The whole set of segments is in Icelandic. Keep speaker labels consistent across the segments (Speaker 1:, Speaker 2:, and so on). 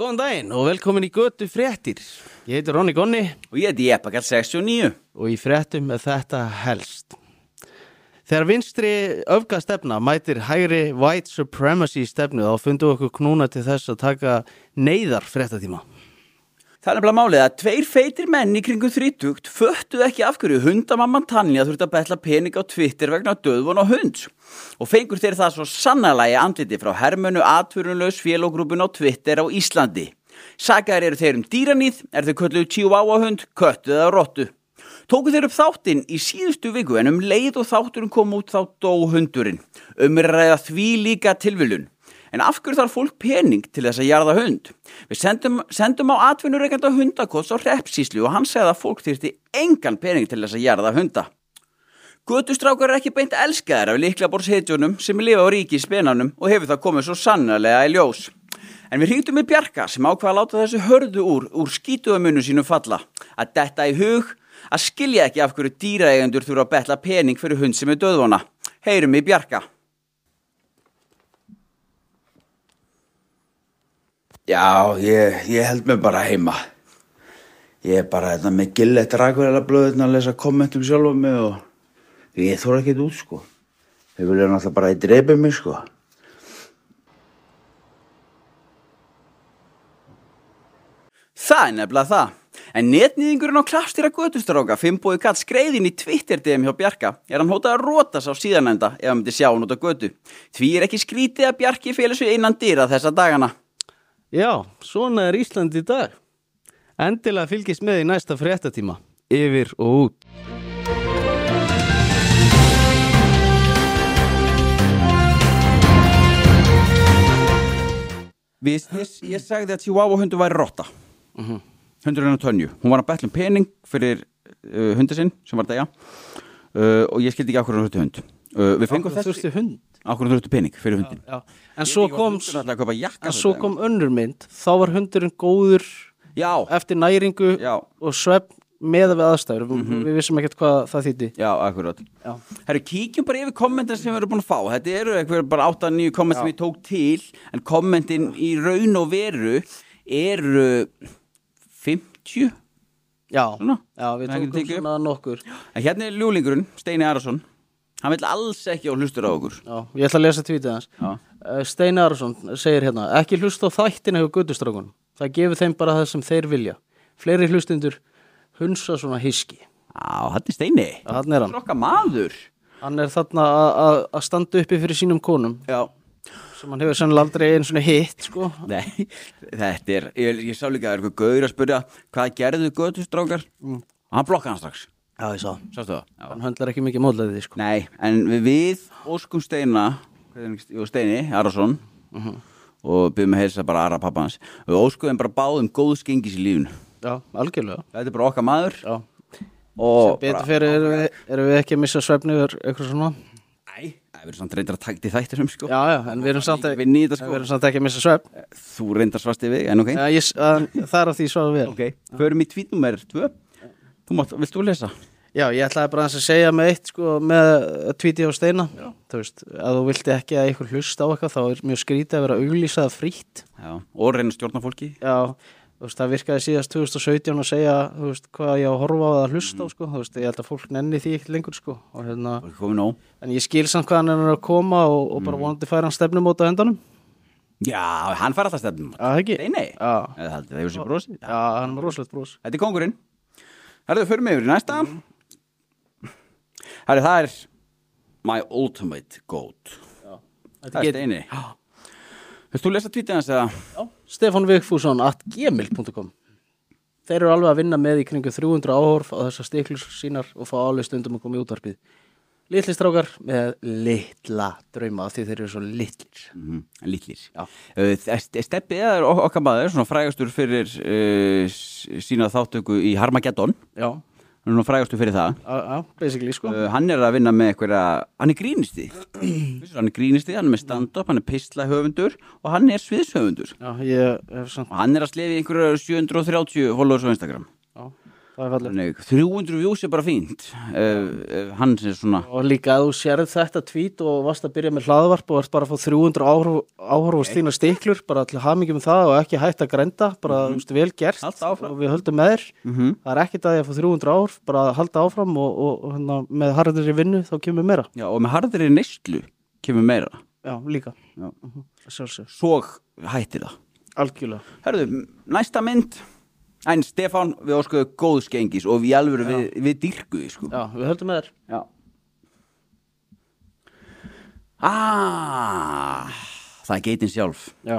Speaker 1: Góðan daginn og velkomin í Götu fréttir. Ég heiti Ronny Gonni
Speaker 2: Og ég heiti Jeppakall 69
Speaker 1: og í fréttum er þetta helst. Þegar vinstri öfgastefna mætir hægri white supremacy stefnu þá fundum við okkur knúna til þess að taka neyðar fréttatíma.
Speaker 2: Það er nefnilega málið að tveir feitir menn í kringum þrítugt föttuð ekki af hverju hundamamman Tanja þurfti að betla pening á Twitter vegna döðvon á hund. Og fengur þeir það svo sannalagi andliti frá hermönu atverunlaus félógrúpun á Twitter á Íslandi. Sakaðar eru þeir um dýranýð, er þau kölluð chihuahua hund, köttu eða rottu. Tóku þeir upp þáttinn í síðustu viku en um leið og þátturinn kom út þá dó hundurinn. Um er að ræða því líka tilvilun. En af hverju þarf fólk pening til þess að jarða hund? Við sendum, sendum á atvinnureikanda hundakots á Repsíslu og hann segði að fólk þyrti engan pening til þess að jarða hunda. Götustrákar er ekki beint elskaðar af líklaborðshetjunum sem lifa á ríki í spenanum og hefur það komið svo sannarlega í ljós. En við hringdum í Bjarka sem ákvaða að láta þessu hörðu úr, úr skítuðamunum sínum falla. Að detta í hug, að skilja ekki af hverju dýraeigendur þurfa að betla pening fyrir hund sem er döðvona. Heyrum í Bjarka.
Speaker 3: Já, ég, ég held mig bara heima. Ég er bara þetta með gillett rækverðala blöðin að lesa kommentum sjálf um mig og ég þóra ekkert út sko. Þau vilja náttúrulega bara að ég dreipi mig sko.
Speaker 2: Það er nefnilega það. En netnýðingurinn á klastýra götustráka, Fimboi Katt, skreiðin í Twitter-DM hjá Bjarka, er hann hótað að rótas á síðanenda ef hann myndi sjá hann út á götu. Því er ekki skrítið að Bjarki félir sig innan dýra þessa dagana.
Speaker 1: Já, svona er Ísland í dag. Endilega fylgist með í næsta fréttatíma. Yfir og út.
Speaker 2: Við, ég, ég sagði að Chihuahua hundu væri rotta. Hundurinn á tönju. Hún var að betla um pening fyrir uh, hundu sinn sem var að degja uh, og ég skildi ekki af hverju hann þurfti hund. Uh, við fengum
Speaker 1: Það
Speaker 2: þessi...
Speaker 1: þurfti hund.
Speaker 2: Af hverju hann þurfti pening fyrir hundin?
Speaker 1: Já. En svo kom,
Speaker 2: Alltaf að köpa jakka.
Speaker 1: en
Speaker 2: fyrir
Speaker 1: svo
Speaker 2: þetta.
Speaker 1: kom önnur mynd. Þá var hundurinn góður
Speaker 2: Já,
Speaker 1: eftir næringu
Speaker 2: Já. Mhm.
Speaker 1: og svepp með við aðstæður við vissum ekkert hvað það þýtti
Speaker 2: já, akkurat.
Speaker 1: Já.
Speaker 2: Herru, kíkjum bara yfir kommentin sem við erum búin að fá. Þetta eru eitthvað bara 8-9 komment sem ég tók til, en kommentin í raun og veru eru 50.
Speaker 1: Já.
Speaker 2: Svona?
Speaker 1: Já, við
Speaker 2: Það er ekki
Speaker 1: tókum
Speaker 2: tekið upp.
Speaker 1: svona nokkur
Speaker 2: En hérna er ljúlingurinn, Steini Arason. Hann vill alls ekki á hlustur á okkur.
Speaker 1: Já, ég ætla að lesa tvítið hans
Speaker 2: Já.
Speaker 1: Eh, Steini Arason segir hérna ekki hlusta á þættina hjá guttustrákunum það gefur þeim bara það sem þeir vilja fleiri hlustundur hunsa svona hiski
Speaker 2: Á, hann er Steini.
Speaker 1: Já, þarna er hann.
Speaker 2: Krokka maður.
Speaker 1: hann er þarna að- að- að standa uppi fyrir sínum konum
Speaker 2: Já.
Speaker 1: sem hann hefur sennilega aldrei einu svona hitt sko.
Speaker 2: Nei, þetta er, ég, ég sá líka að það er eitthvað gauður að spyrja hvað gerðu götustrákar? Mm. Hann blokkaði hann strax.
Speaker 1: Já, ég sá
Speaker 2: Sástu það? Já.
Speaker 1: Hann höndlar ekki mikið mótlega því sko.
Speaker 2: Nei, en við- við óskum Steina hvað er hann- jú, Steini Arason
Speaker 1: Mhm.
Speaker 2: og byrjum að heilsa bara Ara pappa hans við óskum þeim bara báðum góðs gengis í lífun
Speaker 1: Já, algjörlega
Speaker 2: þetta er bara okkar maður
Speaker 1: Já.
Speaker 2: og
Speaker 1: Betur
Speaker 2: bara,
Speaker 1: fyrir erum við, erum við ekki að missa svefni yfir eitthvað svona
Speaker 2: nei, það verður samt reyndar að takta í þættir sem sko
Speaker 1: Já, já, en við erum samt ekki,
Speaker 2: Við nýta sko.
Speaker 1: við erum samt ekki að missa svepp
Speaker 2: þú reyndar svasti við, en ok,
Speaker 1: ja, ég, að, Það er af því svarað vel
Speaker 2: Eh, ok, förum í tvít nummer 2 þú mátt, vilt þú lesa?
Speaker 1: Já, ég ætlaði bara aðeins að segja með eitt sko, með tvíti á steina Þú veist, að þú vildi ekki að ykkur hlusta á eitthvað þá er mjög skrítið að vera auglýsað frítt
Speaker 2: Já. og reyna að stjórna fólki
Speaker 1: Já, þú veist, það virkaði síðast 2017 að segja, þú veist, hvað ég á að horfa á eða hlusta á,
Speaker 2: Mm.
Speaker 1: sko, þú veist, ég held að fólk nenni því ekkert lengur, sko, og hérna
Speaker 2: og komið nóg
Speaker 1: en ég skil samt hvað hann er að koma og, og
Speaker 2: Mm.
Speaker 1: bara vonandi færa hann stefnumót á endanum
Speaker 2: já, hann fær alltaf stefnum
Speaker 1: Já, það ekki?
Speaker 2: Steini,
Speaker 1: Já.
Speaker 2: það heldur það hefur sér brosið
Speaker 1: Já, hann er með rosalegt brós
Speaker 2: Þetta er kongurinn Herðu, förum yfir í næsta Mhm. Herðu, það er My Ultimate Goat Það er steini Vilt þú lesa tvítið hans að
Speaker 1: Stefán Vigfússon at gmail.com Þeir eru alveg að vinna með í kringu 300 áhorf á þessar stiklur sínar og fá alveg stundum að koma í útvarpið. Litli strákar með litla drauma af því þeir eru svo litlir.
Speaker 2: mm, Lillir Steppið Eh, er ok- okkar maður Svona frægastur fyrir uh, s- sína þáttöku í Harmageddon
Speaker 1: Já,
Speaker 2: Hann er nú frægastur fyrir það
Speaker 1: já, já, basically sko.
Speaker 2: Uh, hann er að vinna með einhverja hann er grínisti Vissirðu, hann er grínisti, hann er með stand-up, hann er pislahöfundur og hann er sviðshöfundur
Speaker 1: Já, ég hef samt,
Speaker 2: og hann er að slefi einhverju 730 followers á Instagram
Speaker 1: já, það er fallið
Speaker 2: Þannig, 300 views er bara fínt uh, hann sem svona
Speaker 1: og líka að þú sérð þetta tvít og varst að byrja með hlaðvarp og varst bara að fá 300 áhorf, áhorf og stína stiklur bara til hamingjum um það og ekki hægt að grænda bara mm -hmm. vel gert
Speaker 2: Halda áfram.
Speaker 1: og við höldum með þér
Speaker 2: Mhm.
Speaker 1: það er ekkit að ég að fá 300 áhorf bara að halda áfram og, og, og hérna, með harðir í vinnu þá kemur meira
Speaker 2: já, og með harðri neyslu kemur meira
Speaker 1: já, líka,
Speaker 2: já.
Speaker 1: sjálfsög,
Speaker 2: svo hættir það
Speaker 1: algjörlega
Speaker 2: Herðu, næsta mynd en Stefán, við óskuðu góðs gengis og við alveg við, við dyrkuði sko.
Speaker 1: já, við höldum með þér
Speaker 2: Já. Ah, það er geitin sjálf
Speaker 1: já.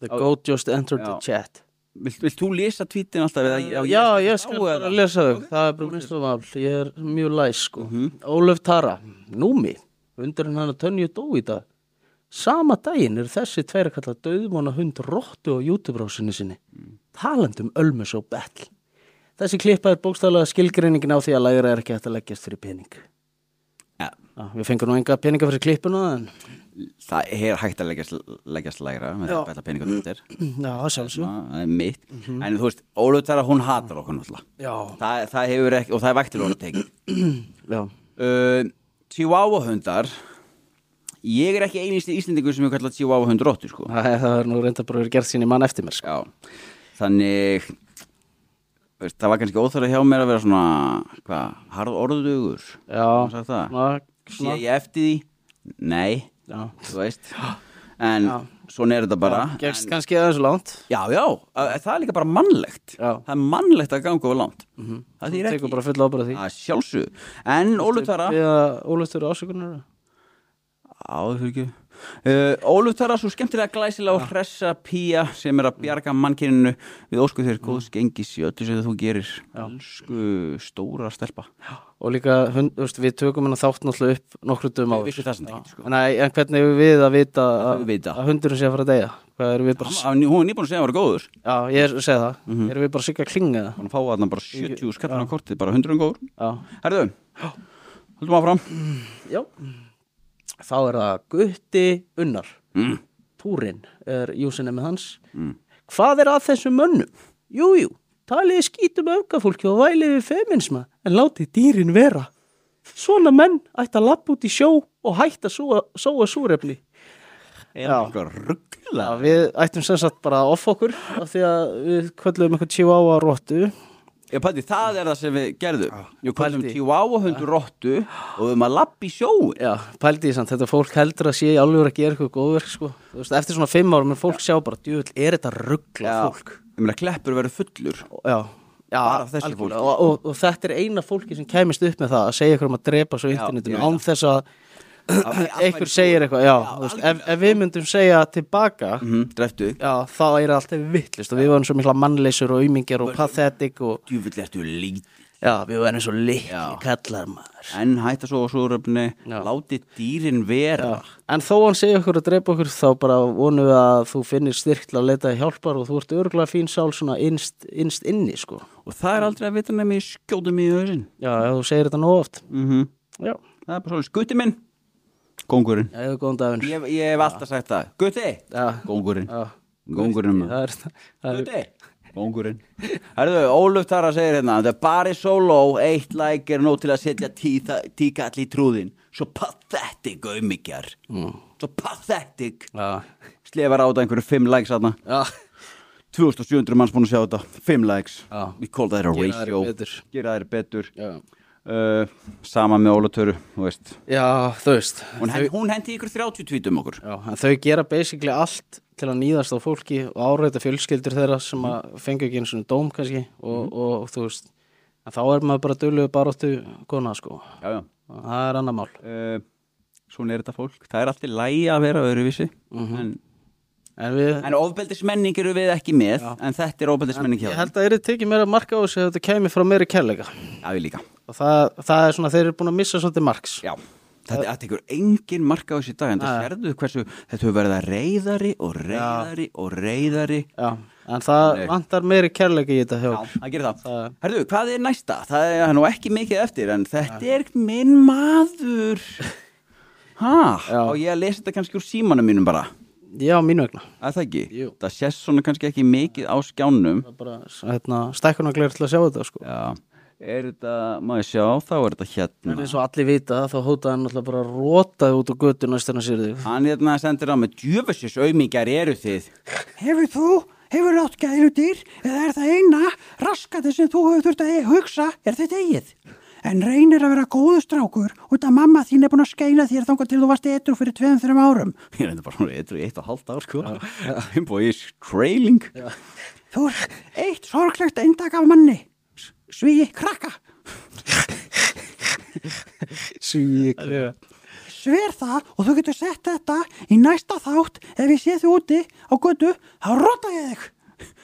Speaker 1: the goat just entered the
Speaker 2: Já.
Speaker 1: chat
Speaker 2: Vilt, vilt þú lesa tweetin alltaf? eða-
Speaker 1: Uh, Já,
Speaker 2: ég-
Speaker 1: ég skal
Speaker 2: á,
Speaker 1: bara
Speaker 2: eða?
Speaker 1: lesa þau Það er bara minnst um afl, ég er mjög læs sko. Ólöf Tara, Númi Undurinn hann að tönju dó í dag Sama daginn eru þessi tveir að kalla döðmóna hund rottu á YouTube-rásinni sinni Talandi um Ölmus og Betl Þessi klippa er bókstæðlega skilgreiningin á því að lægra er ekki hægt að leggjast fyrir pening
Speaker 2: Já,
Speaker 1: Já, Við fengum nú enga peninga fyrir klippuna en...
Speaker 2: Það er hægt að leggjast, leggjast lægra með það
Speaker 1: Já. Mm-hmm.
Speaker 2: bæla peningar þetta er
Speaker 1: Já, það sjálfsög
Speaker 2: það er mitt en þú veist, Ólöf Tara hún hatar okkur náttúrulega
Speaker 1: Já,
Speaker 2: það, það hefur ekki, og það er vægtil orðið tekið
Speaker 1: já,
Speaker 2: uh, Chihuahua hundar ég er ekki einlist í Íslendingu sem hefur kallað Chihuahua hund rottu sko
Speaker 1: Æ, það er nú reynda bara verið gert sín í mann eftir mér sko.
Speaker 2: já, þannig veist, það var kannski óþæra hjá mér að vera svona hvað, harð orðugur
Speaker 1: Já,
Speaker 2: Má sagt það?
Speaker 1: svona,
Speaker 2: sé
Speaker 1: svona,
Speaker 2: ég eftir því? nei,
Speaker 1: já
Speaker 2: þú veist en svona er þetta bara
Speaker 1: Gekst kannski aðeins langt
Speaker 2: já, já, að- það er líka bara mannlegt
Speaker 1: Já. Mhm.
Speaker 2: það er mannlegt að ganga over langt það þýr
Speaker 1: tekur
Speaker 2: ekki
Speaker 1: bara fulla ábyrða því
Speaker 2: að sjálfsög, en Ólutara
Speaker 1: Við að ólöftur ásökunar
Speaker 2: Já, þú ekki uh, Óluf Tara, svo skemmtilega glæsilega og hressa pía sem er að bjarga mannkyninu við ósku þér góðs gengis í öllu sem þú gerir Elsku stóra stelpa
Speaker 1: og líka, hund, þú veist, við tökum hennar þátt náttúrulega upp nokkru dögum
Speaker 2: Við
Speaker 1: áður
Speaker 2: vissum það sem ekki sko.
Speaker 1: Nei, en hvernig hefur við að vita að,
Speaker 2: við vita.
Speaker 1: að hundurinn sé að fara að deyja? Hvað erum við bara,
Speaker 2: Hann- hann- Hún er nýbúin að segja að hann var góður
Speaker 1: já, ég er- segi það
Speaker 2: Mhm.
Speaker 1: erum við bara sikka að klinga það?
Speaker 2: Hann fáið hann bara 70 skallan á kortið, bara 100 góður
Speaker 1: Já,
Speaker 2: Herðu, höldum áfram
Speaker 1: já Þá er það Gutti Unnar
Speaker 2: mm.
Speaker 1: Túrin er júsinni með hans Hvað er að þessum mönnum? Jú, jú, taliði skítum öfgafólki og væliði við feminisma en látið dýrin vera Svona menn ætti að lappa út í sjó og hætta að súa- sóa súrefni
Speaker 2: Er eitthvað ruggla
Speaker 1: Já, við ættum sem sagt bara að offa okkur af því að við kvöldum eitthvað chihuahua róttu
Speaker 2: Já, pældi, það er það sem við gerðum Jú, kvöldum
Speaker 1: pældi.
Speaker 2: Chihuahua hundur rottu og við erum að lappa í sjóin
Speaker 1: Já, pældi ég samt, þetta fólk heldur að sé í alveg að gera eitthvað góðverk sko. Þú veist, Eftir svona fimm árum er fólk sjá bara djúvill, er þetta ruggla fólk
Speaker 2: Ég meina, kleppur verður fullur
Speaker 1: Já, já
Speaker 2: Bara af þessu
Speaker 1: algjörlega.
Speaker 2: fólki.
Speaker 1: og, og, og þetta er eina fólki sem kæmist upp með það að segja ykkur um að drepa svo
Speaker 2: ég
Speaker 1: internetinu
Speaker 2: veit
Speaker 1: án þess að einhver segir eitthvað já, þú veist, ef, ef við myndum segja tilbaka
Speaker 2: mm, Dreftu þig
Speaker 1: já, þá er það alltaf vittlist og við varum svo mikla mannleysur og aumingar og pathetic og
Speaker 2: Djúvill ertu lít
Speaker 1: já, við varum svo litli
Speaker 2: Já.
Speaker 1: kallar maður
Speaker 2: En hætta svo á súröfni
Speaker 1: Já.
Speaker 2: Láti dýrin vera
Speaker 1: En þó hann segja okkur að drepa okkur þá bara vonum við að þú finnir styrk til að leita í hjálpar og þú ert örgulega fín sál svona innst, innst inni sko.
Speaker 2: Og það er aldrei að vita nefnir skjóta mig í hausinn
Speaker 1: Já, ef þú segir þetta nóg oft.
Speaker 2: mm
Speaker 1: Já,
Speaker 2: Það er bara svolítið Gutti minn Kongurinn
Speaker 1: já, ég góðan daginn.
Speaker 2: Ég, ég hef alltaf sagt það Gutti
Speaker 1: Já,
Speaker 2: Kongurinn
Speaker 1: já,
Speaker 2: Kongurinn maður.
Speaker 1: það er það. Er,
Speaker 2: Gutti Kongurinn Herðu, Óluf Tara segir hérna Það er bara svo low Eitt læk er nóg til að setja tíka, tíka allir í trúðin Svo pathetic auðmikjar mm. Svo pathetic
Speaker 1: já,
Speaker 2: Slefar á þetta einhverju fimm læks aðna
Speaker 1: já,
Speaker 2: 2700 manns búin að sjá þetta 5 likes,
Speaker 1: Já.
Speaker 2: we call that a
Speaker 1: Gera
Speaker 2: ratio
Speaker 1: þær betur.
Speaker 2: gera þær betur
Speaker 1: já.
Speaker 2: uh, sama með Ólatöru þú veist.
Speaker 1: Já, þú veist.
Speaker 2: hún, hen, hún hendi ykkur 30 tvítum okkur
Speaker 1: Já, en þau gera basically allt til að nýðast á fólki og áreita fjölskyldur þeirra sem að fengu ekki einu svona dóm kannski og, og, þú veist, en þá er maður bara döluðu baróttu kona sko.
Speaker 2: já, já.
Speaker 1: Það er annað mál.
Speaker 2: Uh, svona er þetta fólk það er alltaf lægi að vera öðruvísi en,
Speaker 1: En við,
Speaker 2: Mhm. en ofbeldismenning eru við ekki með en þetta er ofbeldismenning hjá
Speaker 1: Ég
Speaker 2: þeim.
Speaker 1: held að þeir eru tekið meira marka á þessu ef þetta kæmi frá meiri kærleika
Speaker 2: já, við líka
Speaker 1: og það, það er svona þeir eru búin að missa svolítið marks
Speaker 2: já. Þetta, þetta ykkur engin marka á þessi dag en það sérðu hversu þetta hefur verið að reyðari og reyðari og reyðari
Speaker 1: Já, en það vantar meiri kærleika í þetta hjá
Speaker 2: Já,
Speaker 1: okkur.
Speaker 2: það gerir það.
Speaker 1: Það-
Speaker 2: Herðu, hvað er næsta? Það er nú ekki mikið eftir, en þetta er minn maður. Hæ,
Speaker 1: Já.
Speaker 2: og ég að lesa þetta kannski úr símanum mínum bara.
Speaker 1: Já, mínu vegna
Speaker 2: að það ekki,
Speaker 1: Jú.
Speaker 2: það sést svona kannski ekki mikið á skjánum
Speaker 1: Það er bara hérna, stækkunagleir til að sjá þetta sko.
Speaker 2: já, er þetta, má ég sjá þá er þetta
Speaker 1: En
Speaker 2: hérna
Speaker 1: eins og allir vita þá hótaði hann alltaf bara rótaði út á götu næst hann sér þig
Speaker 2: hann hérna sendir á með djöfusins aumingar eru þið hefur þú, hefur átt gælutir eða er það eina raskati sem þú hefur þurft
Speaker 4: e-
Speaker 2: að hugsa er þetta eigið
Speaker 4: En reynir að vera góðu strákur út að mamma þín er búin að skeina þér þangað til þú varst etru fyrir tveim, þreim árum.
Speaker 2: ég er þetta bara svona eitt og eitt og halvt ár sko Himbo is trailing
Speaker 4: Þú er eitt sorglegt eindak af manni. Svíi, krakka.
Speaker 1: Svík
Speaker 4: Ég Sver það og þú getur sett þetta í næsta þátt ef ég sé þú úti á götu, þá rota ég þig.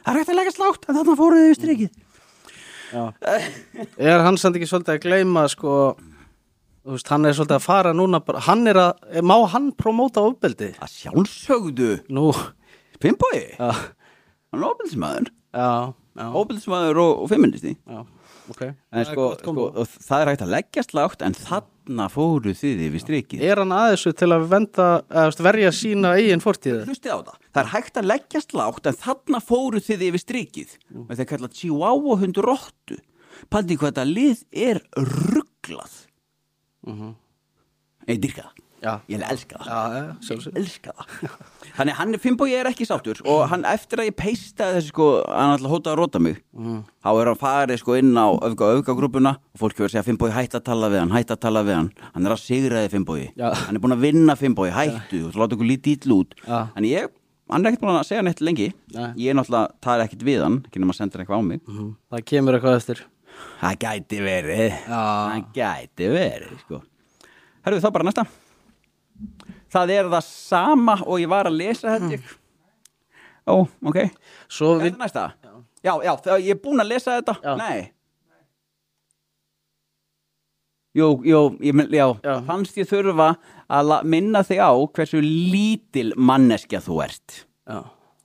Speaker 4: Það er hægt að leggja slátt en þarna fóruðu yfir strikið.
Speaker 1: Er hann samt ekki svolítið að gleyma sko Þú veist, hann er svolítið að fara núna bara, hann er að, má hann promóta ofbeldi?
Speaker 2: að sjálfsögðu
Speaker 1: Nú,
Speaker 2: Pimboi,
Speaker 1: já,
Speaker 2: hann er óbildismæður
Speaker 1: já, já,
Speaker 2: óbildismæður og, og feministi
Speaker 1: já, ok
Speaker 2: en
Speaker 1: Það er
Speaker 2: sko,
Speaker 1: gott
Speaker 2: sko
Speaker 1: kombo.
Speaker 2: og það er hægt að leggja slátt en þarna fóru þið yfir strikið
Speaker 1: Er hann að þessu til að venda, eða þú veist, verja sína eigin fortíðu?
Speaker 2: hlustið á það, það er hægt að leggja slátt en þarna fóru þið yfir strikið og það er kallað chihuahua hundur rottu paldi hvað þetta lið er rugglað ég dyrka það
Speaker 1: Já.
Speaker 2: ég elska það
Speaker 1: Já, já, sjálfsög
Speaker 2: elska það Þannig hann, Fimboi er ekki sáttur og hann eftir að ég peista þessi sko hann ætla að hóta að róta mig
Speaker 1: Mm.
Speaker 2: þá er hann farið sko inn á öfga öfgagrúpuna og fólk hefur að segja Fimboi hætt að tala við hann hætt að tala við hann, hann er að sigraði Fimboi
Speaker 1: Já.
Speaker 2: hann er búin að vinna Fimboi, hættu og láta okkur lítið ítl út
Speaker 1: Já.
Speaker 2: en ég, hann er ekkert búin að segja neitt lengi
Speaker 1: Nei. Mm.
Speaker 2: ég er náttúrulega, tala ekkert við hann ekki nema að senda hann eitthvað á mig
Speaker 1: Það kemur eitthvað eftir
Speaker 2: það gæti verið
Speaker 1: Já.
Speaker 2: það gæti verið sko. herruðu þá bara næsta það er það sama og ég var að lesa held ég ó, ok er
Speaker 1: Svo vil,
Speaker 2: það næsta? já, já, það, ég er búinn að lesa þetta
Speaker 1: Já.
Speaker 2: nei jú, jú, ég, mun- já,
Speaker 1: Já.
Speaker 2: fannst ég þurfa að la- minna þig á hversu lítil manneskja þú ert
Speaker 1: já,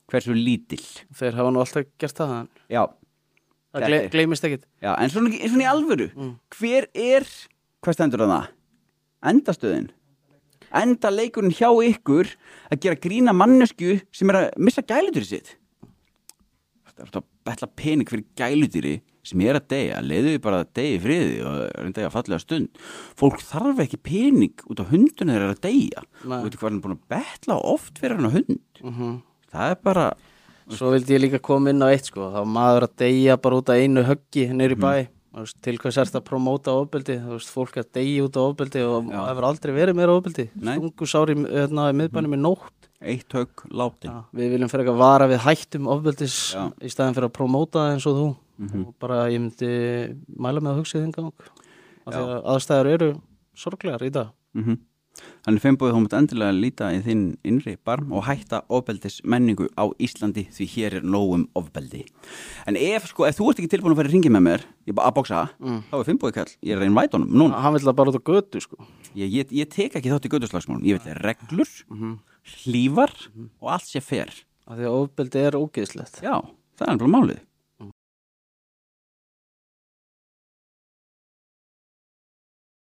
Speaker 2: hversu lítil
Speaker 1: þeir hafa nú alltaf gert það en
Speaker 2: já,
Speaker 1: Það
Speaker 2: Þetta
Speaker 1: gle,
Speaker 2: er-
Speaker 1: gleymist ekkit
Speaker 2: Já, en svona, svona í alvöru Hver er, hvað stendur það? Endastöðin Enda leikurinn hjá ykkur að gera grína mannesku sem er að missa gæludýri sitt Þetta er alltaf að betla pening fyrir gæludýri sem er að deyja, leiðu því bara að deyja í friði og reynda að fallega stund fólk þarf ekki pening út á hundunum þeir eru að deyja
Speaker 1: Nei.
Speaker 2: og veitir hvað hann er búin að betla oft fyrir hann á hund það er bara
Speaker 1: Svo vildi ég líka koma inn á eitt sko Það var maður að deyja bara út af einu höggi nýri bæ Þú veist, Til hvers er þetta að promóta ofbeldi Þú veist, fólk er að deyja út af ofbeldi Og
Speaker 2: Já.
Speaker 1: það hefur aldrei verið meira ofbeldi
Speaker 2: Nei.
Speaker 1: Stungu sári hérna, í miðbænum í nótt
Speaker 2: eitt högg látin
Speaker 1: Já, Við viljum fyrir eitthvað vara við hættum ofbeldis
Speaker 2: Já.
Speaker 1: Í staðin fyrir að promóta það eins og þú Og bara ég myndi mæla með að hugsa í þinn gang Af því að Aðstæður eru sorglegar í dag
Speaker 2: Mm Þannig feimbóðið þú mútt endilega líta í þinn innri barm og hætta ofbeldis menningu á Íslandi því hér er nógum ofbeldi. En ef, sko, ef þú ert ekki tilbúin að fara í ringi með mér, ég bara að bóksa, þá er feimbóðið kall, ég er að reyna vætunum núna.
Speaker 1: Hann vill það bara út á götu sko
Speaker 2: Ég, ég, ég tek ekki þátt í göduslagsmálum, ég vil reglur, hlífar og allt sé fer.
Speaker 1: Af því að ofbeldi er ógeðslegt
Speaker 2: Já, það er alveg málið.